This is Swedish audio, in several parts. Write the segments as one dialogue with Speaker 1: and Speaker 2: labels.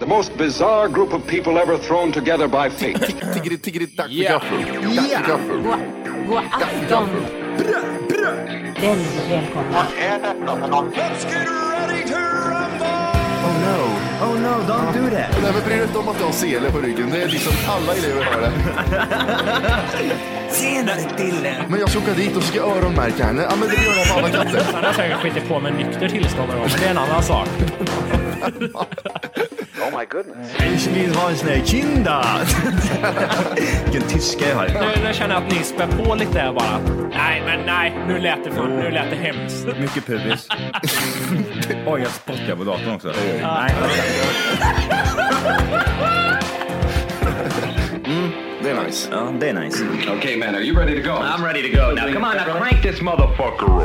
Speaker 1: The most bizarre group of people ever thrown together by fate.
Speaker 2: Tiggeri, tiggeri, tack för gaffel. Tack för gaffel.
Speaker 3: God afton! Väldigt välkomna.
Speaker 4: Oh no, oh no, don't do that.
Speaker 2: Nej, men bry dig inte om att du har sele på ryggen. Det är liksom alla elever har det.
Speaker 4: Senare Dille!
Speaker 2: Men jag ska åka dit och ska öronmärka henne. Ja, men det gör jag på alla katter.
Speaker 5: Han har säkert skitit på med nykter tillstånd någon gång, men det är en annan sak.
Speaker 4: Ich vill ha en sån här kinda! Vilken tyska jag har.
Speaker 5: Nu, nu känner jag att ni spär på lite här bara. Nej, men nej. Nu lät det, för, nu lät det hemskt.
Speaker 4: Mycket pubis. Oj, jag spottar på datorn också. Nej,
Speaker 2: Det är nice.
Speaker 4: ja, det är nice.
Speaker 1: okay, man, are you ready to go?
Speaker 4: I'm ready to go. Now come on, now crank this motherfucker roll.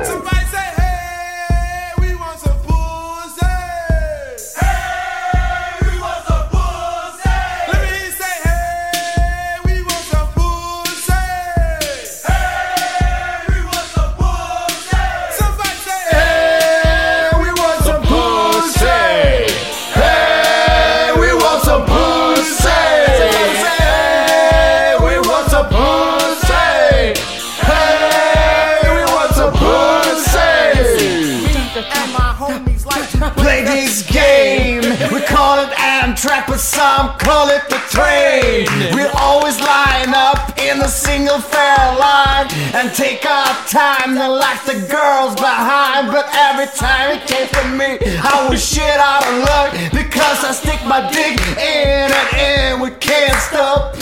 Speaker 4: Play this game. We call it Amtrak, but some call it the train. We'll always line up in a single fare line and take our time to lock the girls behind. But every time it came for me, I was shit out of luck because I stick my dick in and in. We can't stop.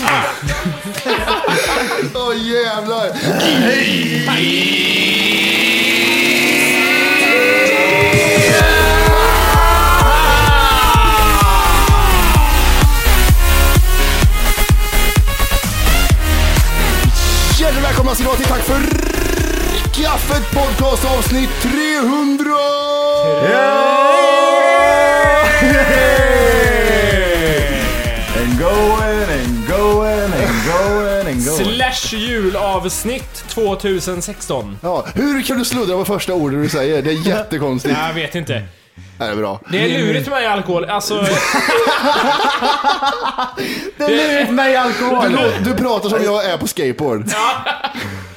Speaker 2: Åh jävlar. Hjärtligt välkomna ska ni vara till Tack för kaffet podcast avsnitt 300!
Speaker 4: And going and going and going and
Speaker 5: Slash julavsnitt 2016.
Speaker 2: Ja, hur kan du sluddra på första ordet du säger? Det är jättekonstigt.
Speaker 5: Jag vet inte.
Speaker 2: Är det är bra?
Speaker 5: Det är lurigt med alkohol. Alltså,
Speaker 4: Det är lurigt med alkohol.
Speaker 2: Du pratar som jag är på skateboard.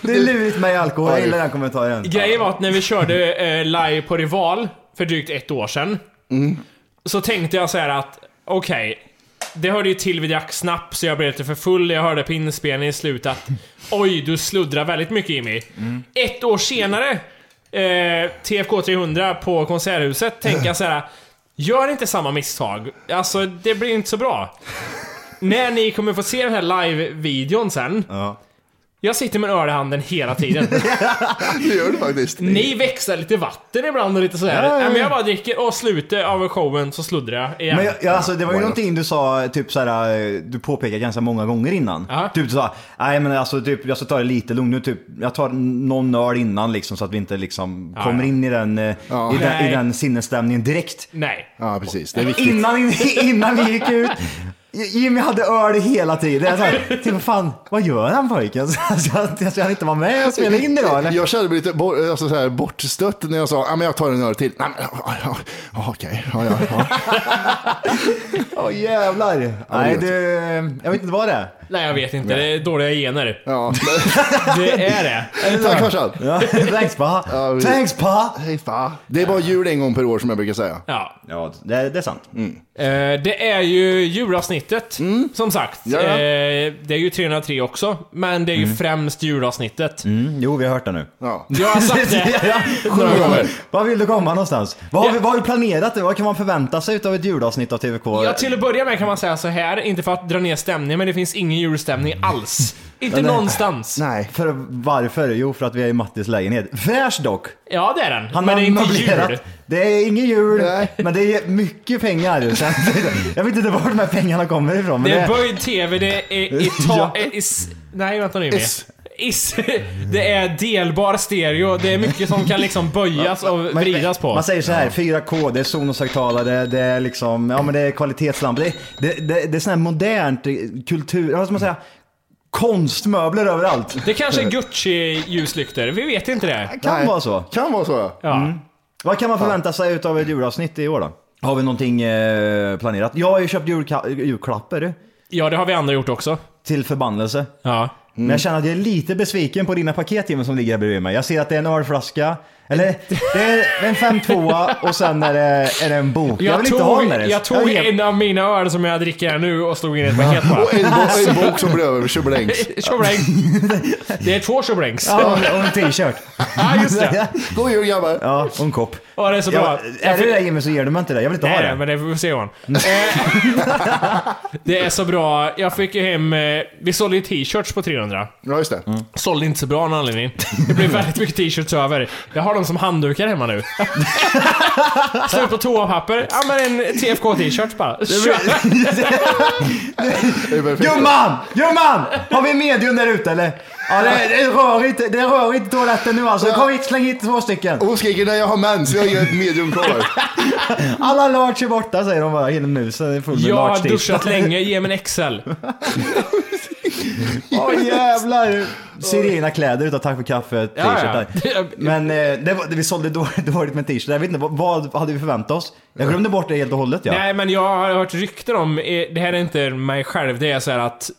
Speaker 4: Det är lurigt med alkohol. Jag gillar den kommentaren.
Speaker 5: grejen var att när vi körde eh, live på Rival för drygt ett år sedan. Så tänkte jag så här att, okej. det hörde ju till vi drack snabbt så jag blev lite för full. Jag hörde på inspelningen i slutet att oj, du sluddrar väldigt mycket Jimmy. Ett år senare, eh, TFK 300 på Konserthuset, tänker jag så här. Gör inte samma misstag. Alltså, det blir inte så bra. När ni kommer få se den här live-videon sen. Jag sitter med öl i handen hela tiden.
Speaker 2: Det gör du faktiskt.
Speaker 5: Ni växlar lite vatten ibland och lite sådär.
Speaker 4: Ja, ja, ja.
Speaker 5: Nej, men jag bara dricker och slutet av showen så sluddrar jag igen.
Speaker 4: Men jag, jag, alltså, det var ju någonting du sa, typ såhär, eh, du påpekade ganska många gånger innan.
Speaker 5: Ja.
Speaker 4: Typ du sa, nej men alltså typ, jag ska ta det lite lugnt nu, typ, jag tar någon öl innan liksom så att vi inte liksom kommer in i den, eh, i den, i
Speaker 5: Nej.
Speaker 4: den sinnesstämningen direkt.
Speaker 5: Nej.
Speaker 2: Ja, precis. Det är viktigt.
Speaker 4: Innan, innan vi gick ut. Jimmy hade öl hela tiden. Jag sa, typ vad fan, vad gör han pojken? Ska, ska, ska han inte vara med och spela in idag eller?
Speaker 2: Jag kände mig lite bort, alltså så här, bortstött när jag sa ah, men jag tar en öl till. Nej, men, ja, ja, ja, Okej, ja, ja, ja.
Speaker 4: Åh jävlar. Nej,
Speaker 2: vet
Speaker 4: du, jag vet inte vad det är.
Speaker 5: Nej, jag vet inte. Det är dåliga gener.
Speaker 2: Ja.
Speaker 5: Det är det.
Speaker 2: Tack farsan.
Speaker 4: Ja, thanks pa!
Speaker 2: vi-
Speaker 4: Thanks pa!
Speaker 2: Hej fa. Det är bara jul en gång per år som jag brukar säga.
Speaker 5: Ja.
Speaker 4: Ja, det, det är sant.
Speaker 5: Eh, det är ju julavsnittet, som sagt.
Speaker 2: Ja, ja.
Speaker 5: Eh, det är ju 303 också, men det är ju främst julavsnittet.
Speaker 4: Mm, jo, vi har hört det nu.
Speaker 2: Ja.
Speaker 5: Jag har sagt det.
Speaker 2: Några gånger.
Speaker 4: Vad vill du komma någonstans? Vad har,
Speaker 5: Ja.
Speaker 4: vi, vad har du planerat? Vad kan man förvänta sig av ett julavsnitt av TVK?
Speaker 5: Ja, till att börja med kan man säga så här, inte för att dra ner stämningen, men det finns ingen julstämning alls. Inte
Speaker 4: nej.
Speaker 5: någonstans.
Speaker 4: Nej. För varför? Jo, för att vi är i Mattis lägenhet. Fräsch dock!
Speaker 5: Ja, det är den.
Speaker 4: Han
Speaker 5: men det är inte
Speaker 4: möblerat.
Speaker 5: jul.
Speaker 4: Det är ingen jul,
Speaker 2: Nej.
Speaker 4: men det är mycket pengar. Så att- jag vet inte var de här pengarna kommer ifrån. Men
Speaker 5: Det
Speaker 4: det
Speaker 5: är böjd TV, det är i ta...
Speaker 4: Ja.
Speaker 5: eh, is, nej, vänta nu.
Speaker 2: Is.
Speaker 5: Is. Det är delbar stereo, det är mycket som kan liksom böjas och
Speaker 4: man-
Speaker 5: vridas på.
Speaker 4: Man säger så här, 4K, det är Sonos-högtalare, det är liksom, ja men det är kvalitetslampor. Det, det, det, det är sån här modernt eh, kultur, vad ska man säga? Konstmöbler överallt.
Speaker 5: Det kanske är Gucci-ljuslyktor, vi vet inte det.
Speaker 4: Kan
Speaker 2: Nej.
Speaker 4: vara så.
Speaker 2: Kan vara så ja.
Speaker 5: Ja.
Speaker 4: Mm. Vad kan man förvänta sig utav ett julavsnitt i år då? Har vi någonting eh, planerat? Jag har ju köpt julka- julklappar du,
Speaker 5: ja, det har vi andra gjort också.
Speaker 4: till förbannelse.
Speaker 5: Ja.
Speaker 4: Men jag känner att jag är lite besviken på dina paket Jimmy som ligger här bredvid mig. Jag ser att det är en ölflaska, eller det är en 52 och sen är det, är det en bok. Jag,
Speaker 5: Jag,
Speaker 4: vill
Speaker 5: tog,
Speaker 4: inte ha den där ens.
Speaker 5: jag tog
Speaker 4: är-
Speaker 5: en av mina öl som jag dricker här nu och slog in i ett paket
Speaker 2: Och
Speaker 5: bara.
Speaker 2: en,
Speaker 4: Alltså.
Speaker 2: bo- en bok som blir över tjoblängs.
Speaker 5: Tjoblänk. Det är två tjoblänks.
Speaker 4: Ja, och en t-shirt.
Speaker 5: Ja, just det.
Speaker 2: God jul grabbar.
Speaker 4: Ja, och en kopp.
Speaker 5: Ja, det är så
Speaker 4: Ja,
Speaker 5: bra.
Speaker 4: är det det där Jimmy så ger du mig inte det. Jag vill inte ha
Speaker 5: Nej,
Speaker 4: det.
Speaker 5: men det får vi se Johan. Eh, det är så bra. Jag fick ju hem... eh, Vi sålde ju t-shirts på 300.
Speaker 2: Ja just det.
Speaker 4: Mm.
Speaker 5: Sålde inte så bra av någon anledning. Det blev väldigt mycket t-shirts över. Jag har dem som handdukar hemma nu. Slut på toapapper. Ja, men en TFK-t-shirt bara. Kör.
Speaker 2: Det är perfekt.
Speaker 4: Gumman! Gumman! Har vi medium där ute eller? Ja, det, det är rörigt. Det är rörigt i toaletten nu alltså. Kom hit, släng hit två stycken.
Speaker 2: Hon skriker när jag har mens, jag har inget medium
Speaker 4: Mm.
Speaker 2: kvar.
Speaker 4: Alla large är borta säger de bara genom musen. Det är full med
Speaker 5: Jag
Speaker 4: large
Speaker 5: har
Speaker 4: t-shirt.
Speaker 5: duschat länge, ge mig en XL.
Speaker 4: Åh jävlar! Sirena kläder utav tack för kaffet
Speaker 5: Ja,
Speaker 4: t-shirtar.
Speaker 5: ja.
Speaker 4: Men eh, det var, det, vi sålde dåligt, dåligt med t-shirtar. Jag vet inte, vad, vad hade vi förväntat oss? Jag glömde bort det helt och hållet ja.
Speaker 5: Nej, men jag har hört rykten om, eh, det här är inte mig själv, det är så här att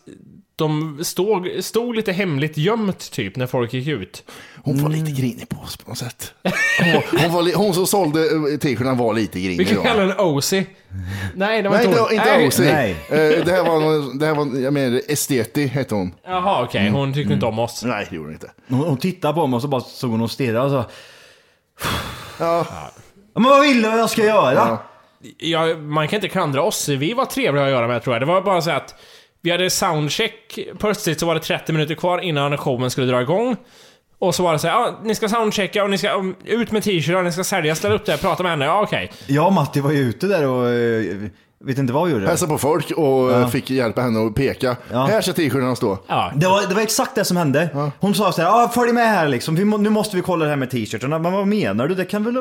Speaker 5: de stod, stod lite hemligt gömt typ när folk gick ut.
Speaker 2: Hon var lite grinig på oss på något sätt. Hon, hon, var li- hon som sålde eh, t-shirtarna var lite
Speaker 5: Vi
Speaker 2: grinig.
Speaker 5: kan
Speaker 2: då.
Speaker 5: kalla den OC. Nej, det var
Speaker 2: Nej,
Speaker 5: inte
Speaker 2: inte,
Speaker 5: hon.
Speaker 2: inte
Speaker 5: Nej.
Speaker 2: OC.
Speaker 4: Nej.
Speaker 2: Eh, Det här var, någon- det här var jag menar, Esteti hette hon.
Speaker 5: Jaha, okej.
Speaker 2: Mm.
Speaker 5: Hon tyckte inte om oss.
Speaker 2: Nej, det gjorde hon inte.
Speaker 4: Hon, hon tittade på mig och så bara såg hon och stirrade och så.
Speaker 2: Ja.
Speaker 4: Men vad vill du att jag ska göra?
Speaker 5: Ja, man kan inte klandra oss. Vi var trevliga att göra med tror jag. Det var bara så att vi hade soundcheck. Plötsligt så var det 30 minuter kvar innan showen skulle dra igång. Och så var det så här, ja, ni ska soundchecka och ni ska um, ut med t-shirtar, ni ska sälja, ställa upp där, prata med henne. Ja, okej.
Speaker 4: Jag och Matti var ju ute där och eh, vet inte vad vi gjorde.
Speaker 2: Hälsade på folk och eh, fick hjälpa henne att peka. Här ska t-shirtarna stå.
Speaker 5: Ja.
Speaker 4: Det var, det var exakt det som hände. Hon sa såhär, ah, följ med här liksom, vi må, nu måste vi kolla det här med t-shirtarna. Men vad menar du? Det kan, väl,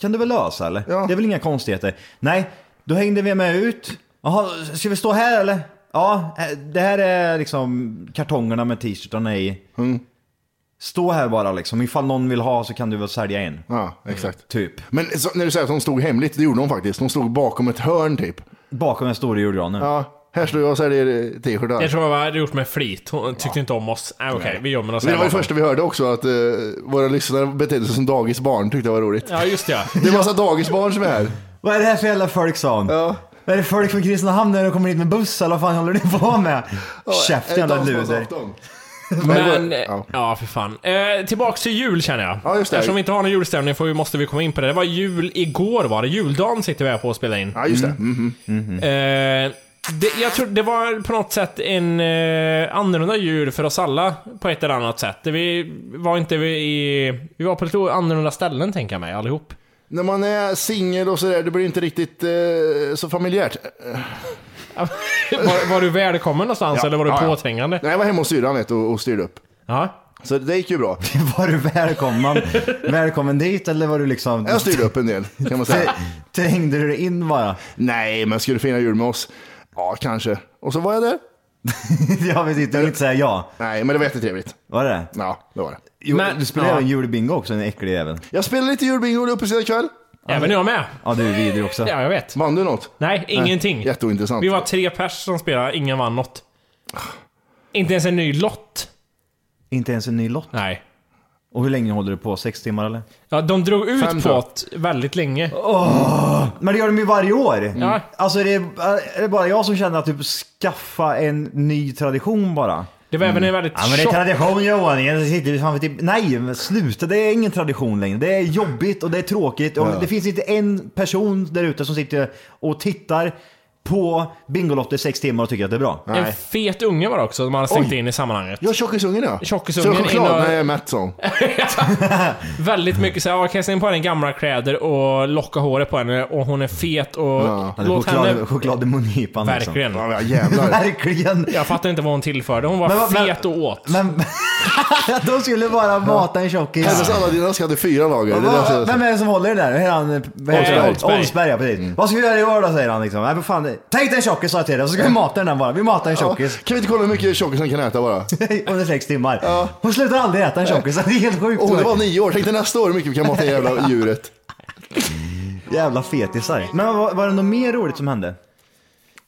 Speaker 4: kan du väl lösa eller? Det är väl inga konstigheter? Nej, då hängde vi med ut. Jaha, ska vi stå här eller? Ja, eh, det här är liksom kartongerna med t-shirtarna i. Stå här bara liksom, ifall någon vill ha så kan du väl sälja en.
Speaker 2: Ja, exakt.
Speaker 4: Typ,
Speaker 2: Men så, när du säger att hon stod hemligt, det gjorde hon faktiskt. Hon stod bakom ett hörn typ.
Speaker 4: bakom den stora julgranen.
Speaker 2: Ja, här står jag och säljer eh, t-shirtar.
Speaker 5: Jag tror det var gjort med flit. Hon tyckte inte om oss. Nej, okej. Vi gömmer oss
Speaker 2: Det var
Speaker 5: här
Speaker 2: det
Speaker 5: bakom.
Speaker 2: första vi hörde också, att eh, våra lyssnare betedde sig som dagisbarn. Tyckte jag var roligt.
Speaker 5: Ja, just det. ja.
Speaker 2: Det är massa dagisbarn som är här.
Speaker 4: Vad är det här för jävla folk sa hon? Vad är det folk från Kristinehamn när de kommer hit med buss eller vad fan håller ni på med? Käften jävla luder.
Speaker 2: dansbandsafton.
Speaker 5: Men, eh,
Speaker 2: ja.
Speaker 5: ja för fan. Eh, tillbaks till jul känner jag.
Speaker 2: Ja, just det.
Speaker 5: Eftersom vi inte har någon julstämning får vi, måste vi komma in på det. Det var jul igår var det. Juldagen sitter vi här på och spelar in.
Speaker 2: Ja, just det. Mhm.
Speaker 5: Eh, det, jag tror det var på något sätt en eh, annorlunda jul för oss alla på ett eller annat sätt. Vi var inte i... Vi var på lite annorlunda ställen tänker jag mig allihop.
Speaker 2: När man är singel och sådär, det blir inte riktigt eh, så familjärt.
Speaker 5: Var, var du välkommen någonstans eller var du
Speaker 2: Ja, ja.
Speaker 5: påträngande?
Speaker 2: Nej, jag var hemma hos syrran vet du, och och styrde upp.
Speaker 5: Ja.
Speaker 2: Så det gick ju bra.
Speaker 4: Var du välkommen, välkommen dit eller var du liksom...
Speaker 2: Jag styrde upp en del, kan man säga.
Speaker 4: Trängde du dig in bara?
Speaker 2: Nej, men ska du fira jul med oss? Ja, kanske. Och så var jag där.
Speaker 4: Jag vet inte, jag vill inte säga ja.
Speaker 2: Nej, men det var jättetrevligt.
Speaker 4: Var det det?
Speaker 2: Ja, det var det.
Speaker 4: Jo,
Speaker 5: Men-
Speaker 4: du spelade
Speaker 5: ja.
Speaker 4: även julbingo också, en äcklig jävel.
Speaker 2: Jag spelade lite julbingo uppe sida kväll.
Speaker 5: Även jag med.
Speaker 4: Ja, du är vidrig också.
Speaker 5: Ja, jag vet.
Speaker 2: Vann du något?
Speaker 5: Nej, ingenting.
Speaker 2: Jätteointressant.
Speaker 5: Vi var tre pers som spelade, ingen vann något. Inte ens en ny lott.
Speaker 4: Inte ens en ny lott.
Speaker 5: Nej.
Speaker 4: Och hur länge håller det på? Sex timmar eller?
Speaker 5: Ja, de drog ut
Speaker 2: Fem
Speaker 5: på
Speaker 2: då.
Speaker 5: det väldigt länge.
Speaker 4: Men det gör de ju varje år.
Speaker 5: Ja.
Speaker 4: Alltså är det, är det bara jag som känner att typ skaffa en ny tradition bara?
Speaker 5: Det var även en väldigt
Speaker 4: Ja men det är
Speaker 5: tjock...
Speaker 4: tradition Johan, jag sitter ju framför typ... Nej men sluta, det är ingen tradition längre. Det är jobbigt och det är tråkigt. Och Det finns inte en person där ute som sitter och tittar på Bingolotter i sex timmar och tycker att det är bra.
Speaker 5: En fet unge var det också, som man hade slängt in i sammanhanget.
Speaker 2: Jag har tjockisungen ja.
Speaker 5: Tjockisungen
Speaker 2: Så choklad
Speaker 5: innan-
Speaker 2: när jag är mätt så.
Speaker 5: Väldigt mycket såhär, "Ja, kan jag slänga på henne gamla kläder och locka håret på henne och hon är fet och...
Speaker 4: Han hade
Speaker 5: Låt
Speaker 4: choklad,
Speaker 5: henne...
Speaker 4: choklad i mungipan liksom.
Speaker 5: Verkligen.
Speaker 2: Ja, ja, jävlar.
Speaker 4: Verkligen.
Speaker 5: Jag fattar inte vad hon tillförde. Hon var
Speaker 4: Men vad- men-
Speaker 5: fet och åt.
Speaker 4: Men de skulle bara mata en tjockis.
Speaker 2: Hennes Aladdin-ask hade fyra lager. Det är
Speaker 4: Vad-
Speaker 2: därför-
Speaker 4: Vem är det som håller det där? Är han,
Speaker 5: Oldsberg.
Speaker 4: Oldsberg. Oldsberg, ja
Speaker 2: Mm.
Speaker 4: precis. Vad ska vi göra i år då? Säger han liksom. Nej, vad fan, tänk dig en tjockis sa jag till dig, så ska vi mata den här bara. Vi matar en
Speaker 2: Ja,
Speaker 4: tjockis.
Speaker 2: Kan vi inte kolla hur mycket tjockisen kan äta bara?
Speaker 4: Under sex timmar. Hon slutar aldrig äta en tjockis. Det är helt sjukt.
Speaker 2: Och hon är bara nio år. Tänk dig nästa år hur mycket vi kan mata det jävla djuret.
Speaker 4: Jävla fetisar. Men var, var det något mer roligt som hände?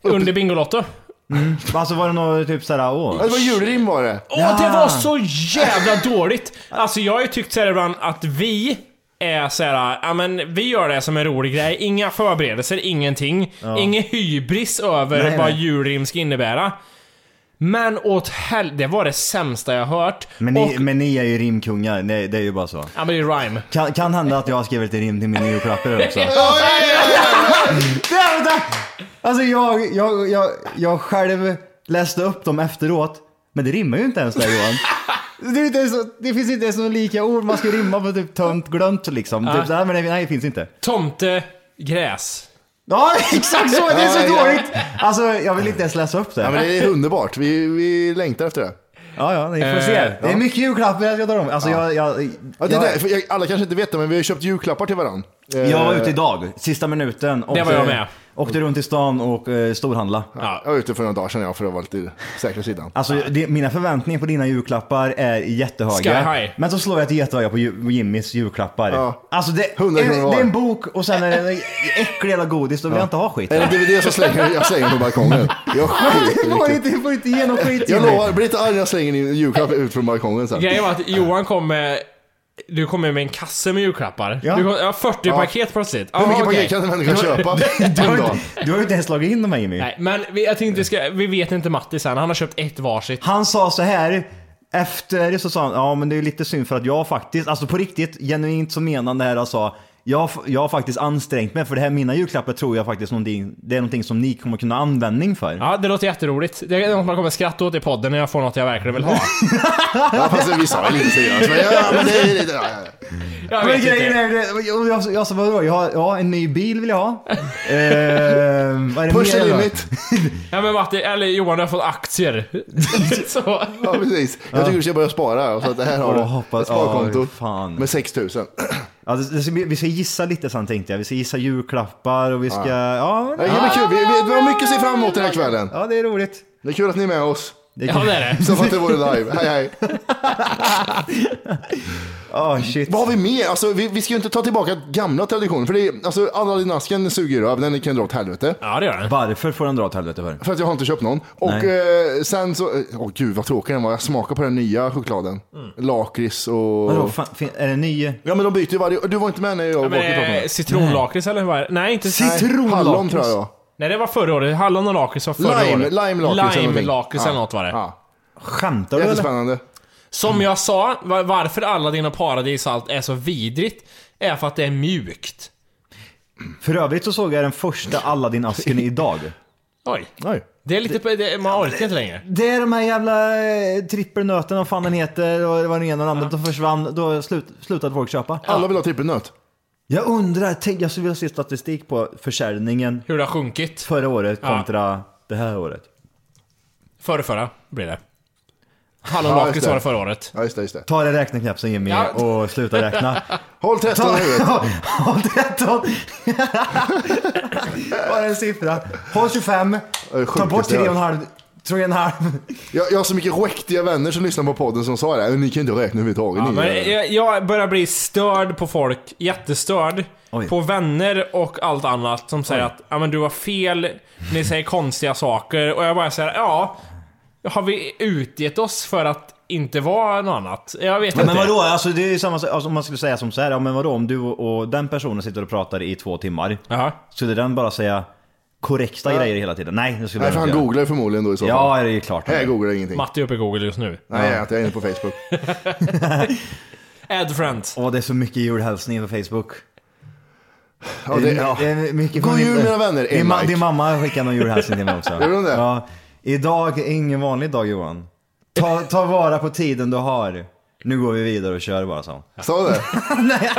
Speaker 5: Under Bingolotto.
Speaker 4: Alltså var det något typ såhär, åh.
Speaker 2: Ja, Det var julrim var det.
Speaker 5: Åh, det var så jävla dåligt! Alltså jag har ju tyckt såhär ibland att vi är såhär, ja men vi gör det som en rolig grej. Inga förberedelser, ingenting. Ingen hybris över
Speaker 4: Nej,
Speaker 5: vad
Speaker 4: nej.
Speaker 5: julrim ska innebära. Men åt hel... Det var det sämsta jag hört.
Speaker 4: Men ni,
Speaker 5: Och,
Speaker 4: men ni är ju rimkungar, det, det är ju bara så.
Speaker 5: ja men det är rhyme.
Speaker 4: Kan, kan hända att jag har skrivit ett rim till mina julklappar också. Där, vänta! Alltså jag, jag, jag, jag själv läste upp dem efteråt, men det rimmar ju inte ens där Johan. Det, är inte ens, det finns inte ens några lika ord man ska rimma på, typ tömt, glömt liksom. Typ, så här, men det, nej, det finns inte.
Speaker 5: Tomte, gräs.
Speaker 4: Ja, exakt så! Det är
Speaker 2: Ja,
Speaker 4: så
Speaker 2: ja.
Speaker 4: dåligt! Alltså jag vill inte ens läsa upp det.
Speaker 2: Ja, men det är underbart. Vi, vi längtar efter det. Eh,
Speaker 4: Ja, ja, ni får se. Det är mycket julklappar jag ska ta dem. Alltså jag, jag,
Speaker 2: Ja, det är
Speaker 4: jag,
Speaker 2: där, för jag, alla kanske inte vet det, men vi har köpt julklappar till Eh, varandra.
Speaker 4: jag var ute idag, sista minuten. Åkte,
Speaker 5: var jag med.
Speaker 4: Åkte runt i stan och eh, storhandla.
Speaker 2: Jag var ute för några dagar sedan ja, för att vara lite säkra sidan.
Speaker 4: Alltså det, mina förväntningar på dina julklappar är jättehöga.
Speaker 5: Sky high.
Speaker 4: Men så slår jag till jättehöga på ju- Jimmys julklappar.
Speaker 2: Ja.
Speaker 4: Alltså det,
Speaker 2: 100
Speaker 4: en,
Speaker 2: kronor var.
Speaker 4: det är en bok och sen är det en äcklig jävla godis, då vill jag inte ha skit.
Speaker 2: Är det en DVD så slänger jag- jag slänger den på balkongen. Jag skiter
Speaker 4: Du
Speaker 2: i
Speaker 4: får
Speaker 2: det.
Speaker 4: inte, du får inte ge någon skit
Speaker 2: Jag
Speaker 4: Jimmy.
Speaker 2: lovar, blir inte arg när jag slänger din julklapp ut från balkongen sen.
Speaker 5: Grejen var att Johan kom med... Du kom med en kasse med julklappar.
Speaker 4: Ja.
Speaker 5: Du kom, ja, 40 paket plötsligt.
Speaker 2: Hur mycket
Speaker 5: Ja, okej.
Speaker 2: paket kan en människa köpa
Speaker 4: Du har,
Speaker 2: en dag?
Speaker 4: inte, du har ju inte ens slagit in de här Jimmy.
Speaker 5: Nej, men vi, jag tänkte ska, vi vet inte Mattis än. Han har köpt ett varsitt.
Speaker 4: Han sa så här. Efter det så sa han, ja men det är lite synd för att jag faktiskt, alltså på riktigt, genuint så menar han det här han sa, jag, har- jag har faktiskt ansträngt mig för det här mina julklappar tror jag faktiskt någonting, det är någonting som ni kommer kunna ha användning för.
Speaker 5: Ja, det låter jätteroligt. Det är något man kommer skratta åt i podden när jag får något jag verkligen vill ha.
Speaker 2: Ja, fast vi sa väl inte seriöst, men ja, men det är lite... Ja, ja.
Speaker 5: Jag
Speaker 4: Men
Speaker 5: vet
Speaker 4: grejen
Speaker 5: inte.
Speaker 4: är, det- och jag, jag sa vadå, jag har, ja, en ny bil vill jag ha. eh, vad är det
Speaker 2: Push the
Speaker 4: mer då?
Speaker 2: limit.
Speaker 5: Ja, men Matti, eller Johan, du har fått aktier. Så.
Speaker 2: Ja, precis. Jag tycker du ska börja spara. Så att det här har
Speaker 4: Åh,
Speaker 2: du.
Speaker 4: hoppas-
Speaker 2: Ett sparkonto
Speaker 4: åh, fan.
Speaker 2: med 6 000. Jag
Speaker 4: Ja, det, det, ska bli- vi ska gissa lite sen tänkte jag. Vi ska gissa julklappar och vi ska, ja.
Speaker 2: tycker Det är kul. Vi, vi, vi har mycket att se fram emot den här kvällen.
Speaker 4: Ja, det är roligt.
Speaker 2: Det är kul att ni är med oss.
Speaker 4: Det är
Speaker 5: Ja,
Speaker 4: kul.
Speaker 5: det är det.
Speaker 2: Som att det vore live. Hej, hej.
Speaker 4: Åh, shit.
Speaker 2: Vad har vi mer? Alltså, vi, vi ska ju inte ta tillbaka gamla traditioner. För det är, alltså, Aladdin-asken suger röv. Den kan dra åt helvete.
Speaker 5: Ja, det gör den.
Speaker 4: Varför får den dra åt helvete för?
Speaker 2: För att jag har inte köpt någon. Och eh, sen så... Åh gud vad tråkig den var. Jag smakar på den nya chokladen. Lakrits och...
Speaker 4: Mm. Vadå, fan, fin- är det ny?
Speaker 2: Ja men de byter ju varje... Du var inte med när jag
Speaker 5: Ja,
Speaker 2: var
Speaker 5: men,
Speaker 2: och pratade
Speaker 5: eh, Citronlakrits eller vad är det? Nej, inte
Speaker 4: Cit-
Speaker 5: Nej.
Speaker 4: citronlakrits.
Speaker 2: Hallon tror jag.
Speaker 5: Nej, det var förra året. Hallon och lakrits var förra
Speaker 2: Lime,
Speaker 5: året.
Speaker 2: lime lakrits eller någonting.
Speaker 5: lakrits eller
Speaker 2: Ja.
Speaker 5: något var det.
Speaker 2: Ja.
Speaker 4: Skämtar du eller?
Speaker 2: Jättespännande.
Speaker 5: Som jag sa, va- varför alla dina paradisalt är så vidrigt är för att det är mjukt.
Speaker 4: För övrigt så såg jag den första Aladdin-asken idag.
Speaker 5: Oj.
Speaker 2: Nej.
Speaker 5: Det är lite... på- Det, man orkar inte längre.
Speaker 4: Det är de här jävla eh, trippelnöten, vad fan den heter, och det var den ena och den andra, de försvann, då slut, slutade folk köpa.
Speaker 2: Alla vill ha trippelnöt.
Speaker 4: Jag undrar, tänk, jag skulle vilja se statistik på försäljningen
Speaker 5: Hur det har sjunkit.
Speaker 4: förra året kontra det här året.
Speaker 5: Förra, förra blir det.
Speaker 2: Ja,
Speaker 5: Hallonlakrits
Speaker 2: just det.
Speaker 5: var det förra året.
Speaker 2: Ja, just det, just det.
Speaker 4: Ta det räkneknapsen Jimmy
Speaker 5: Ja.
Speaker 4: och sluta räkna.
Speaker 2: Håll 13 i huvudet.
Speaker 4: Håll 13! Bara en siffra. Håll 25,
Speaker 2: är sjukt
Speaker 4: ta bort
Speaker 2: det där.
Speaker 4: 3,5, 3,5.
Speaker 2: Jag, jag har så mycket skäktiga vänner som lyssnar på podden som sa det. här, Ni kan ju inte räkna överhuvudtaget.
Speaker 5: Ja,
Speaker 2: ni gör
Speaker 5: men eh,
Speaker 2: det."
Speaker 5: jag, jag börjar bli störd på folk, jättestörd.
Speaker 4: Oj.
Speaker 5: På vänner och allt annat som säger att ja, men du var fel, ni säger konstiga saker. Och jag bara säger ja, Har vi utgett oss för att inte vara något annat? Jag vet
Speaker 4: Ja,
Speaker 5: inte.
Speaker 4: men vadå, alltså, det är ju samma sak, alltså, om man skulle säga som så här, ja, men vadå om du och och den personen sitter och pratar i två timmar,
Speaker 5: Jaha.
Speaker 4: skulle den bara säga korrekta grejer hela tiden? Nej, det skulle
Speaker 2: Nej, för
Speaker 4: den
Speaker 2: han
Speaker 4: inte göra.
Speaker 2: googlar ju förmodligen då i så fall.
Speaker 4: Ja, det är ju klart.
Speaker 2: Här googlar jag ingenting.
Speaker 5: Matti är uppe i Google just nu.
Speaker 2: Nej, jag är inte. Jag är inne på Facebook.
Speaker 5: Add friend.
Speaker 4: Åh, det är så mycket julhälsningar på Facebook.
Speaker 2: Ja, det, ja.
Speaker 4: Det är mycket
Speaker 2: God
Speaker 4: från
Speaker 2: jul
Speaker 4: din-
Speaker 2: mina vänner,
Speaker 4: Din,
Speaker 2: en
Speaker 4: ma-
Speaker 2: like.
Speaker 4: din mamma skickade någon julhälsning till mig också.
Speaker 2: Gjorde hon det?
Speaker 4: Ja. Idag är ingen vanlig dag Johan. Ta, ta vara på tiden du har. Nu går vi vidare och kör bara så.
Speaker 2: Sa du det? Nej.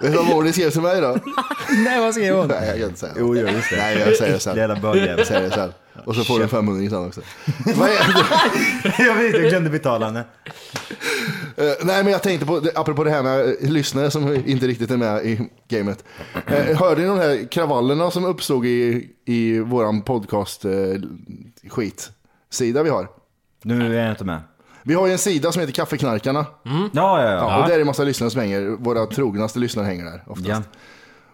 Speaker 2: Vet du vad Molly skrev till mig då?
Speaker 4: Nej vad skrev hon?
Speaker 2: Nej, jag kan inte säga.
Speaker 4: Jo, jo, just det.
Speaker 2: Nej, jag säger det sen.
Speaker 4: Jävla bögjävel.
Speaker 2: Jag säger det sen. Och så får du en 500 sen också. Vad är det?
Speaker 4: Jag vet inte, jag glömde betala henne.
Speaker 2: Eh, nej, men jag tänkte på, det- apropå det här med eh, lyssnare som inte riktigt är med i gamet. Eh, hörde ni de här kravallerna som uppstod i, i våran podcast eh, skit? Sida vi har.
Speaker 4: Nu är jag inte med.
Speaker 2: Vi har ju en sida som heter Kaffeknarkarna.
Speaker 4: Ja, ja, ja.
Speaker 2: Och där är det en massa lyssnare som hänger. Våra trognaste lyssnare hänger där oftast.
Speaker 4: ja.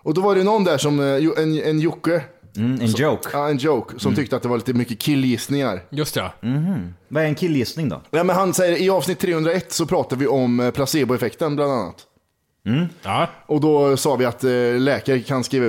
Speaker 2: Och då var det någon där som, eh, jo- en, en Jocke,
Speaker 4: Mm, en joke.
Speaker 2: ja, en joke,
Speaker 4: Mm.
Speaker 2: som tyckte att det var lite mycket killgissningar.
Speaker 5: Just ja.
Speaker 4: Vad är en killgissning då?
Speaker 2: Nej, men han säger i avsnitt 301 så pratar vi om eh, placeboeffekten bland annat.
Speaker 5: ja.
Speaker 2: Och då sa vi att eh, läkare kan skriva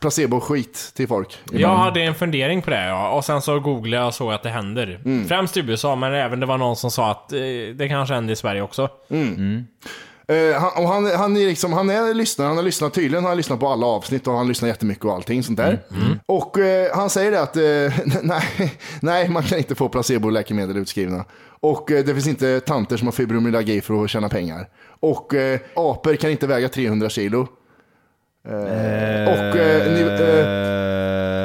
Speaker 2: placebo-skit till folk.
Speaker 5: Jag hade en fundering på det ja. och sen så googlade jag och såg att det händer.
Speaker 4: Mm.
Speaker 5: Främst i USA, men även det var någon som sa att eh, det kanske händer i Sverige också.
Speaker 2: Eh, han, och han, han, är liksom, han är lyssnare, han har lyssnat tydligen, han har lyssnat på alla avsnitt och han lyssnar jättemycket och allting sånt där. Och eh, han säger det att eh, nej, nej, man kan inte få placeboläkemedel utskrivna. Och eh, det finns inte tanter som har fibromyalgi för att tjäna pengar. Och eh, apor kan inte väga 300 kilo. Eh, och eh, ni, eh,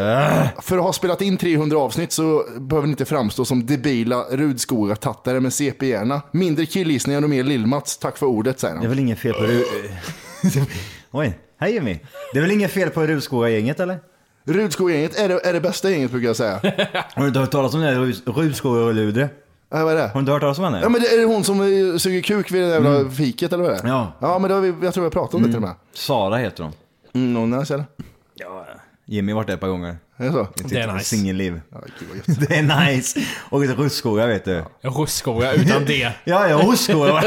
Speaker 4: Eh,
Speaker 2: för att ha spelat in 300 avsnitt så behöver ni inte framstå som debila Rudskoga-tattare med CP-hjärna. Mindre killgissningar och mer Lill-Mats. Tack för ordet, säger han.
Speaker 4: det är väl inget fel på... Ru- Oj, hej Jimmy. Det är väl inget fel på Rudskoga-gänget eller?
Speaker 2: Rudskoga-gänget är det, är det bästa gänget brukar jag säga. äh,
Speaker 4: Har du inte hört talas om det här Rus- Rudskoga och Ludre?
Speaker 2: vad är det?
Speaker 4: Har du inte hört talas om henne?
Speaker 2: Ja, men det är det hon som eh, suger kuk vid det jävla fiket eller vad det är?
Speaker 4: Mm. Ja. Mm.
Speaker 2: Ja, men det har vi, jag tror vi har pratat om det till och med.
Speaker 4: Sara heter hon.
Speaker 2: Mm, någon nice eller?
Speaker 4: Jimmy har varit där ett par gånger.
Speaker 2: Är det så?
Speaker 5: Det är nice.
Speaker 4: Singelliv.
Speaker 2: Ja, gud vad gött.
Speaker 4: Det är nice. Och ett Rudskoga vet du.
Speaker 5: Rosskoga utan det.
Speaker 4: Ja, ja, Rudskoga.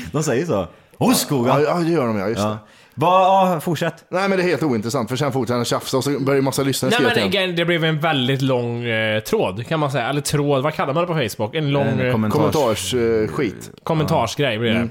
Speaker 4: De säger så.
Speaker 2: Ja,
Speaker 4: Rudskoga.
Speaker 2: ja, det gör de ja, just
Speaker 4: Ja. Va, ja, fortsätt.
Speaker 2: det. Nej, men det är helt ointressant för sen fortsätter han tjafsa och så börjar ju massa lyssnare
Speaker 5: Nej
Speaker 2: skriva
Speaker 5: men
Speaker 2: till honom.
Speaker 5: again, det blev en väldigt lång eh, tråd kan man säga. Eller tråd, vad kallar man det på Facebook? En lång
Speaker 4: En
Speaker 5: eh,
Speaker 4: kommentar.
Speaker 2: Kommentarsskit.
Speaker 5: kommentarsgrej blir det.
Speaker 4: Mm.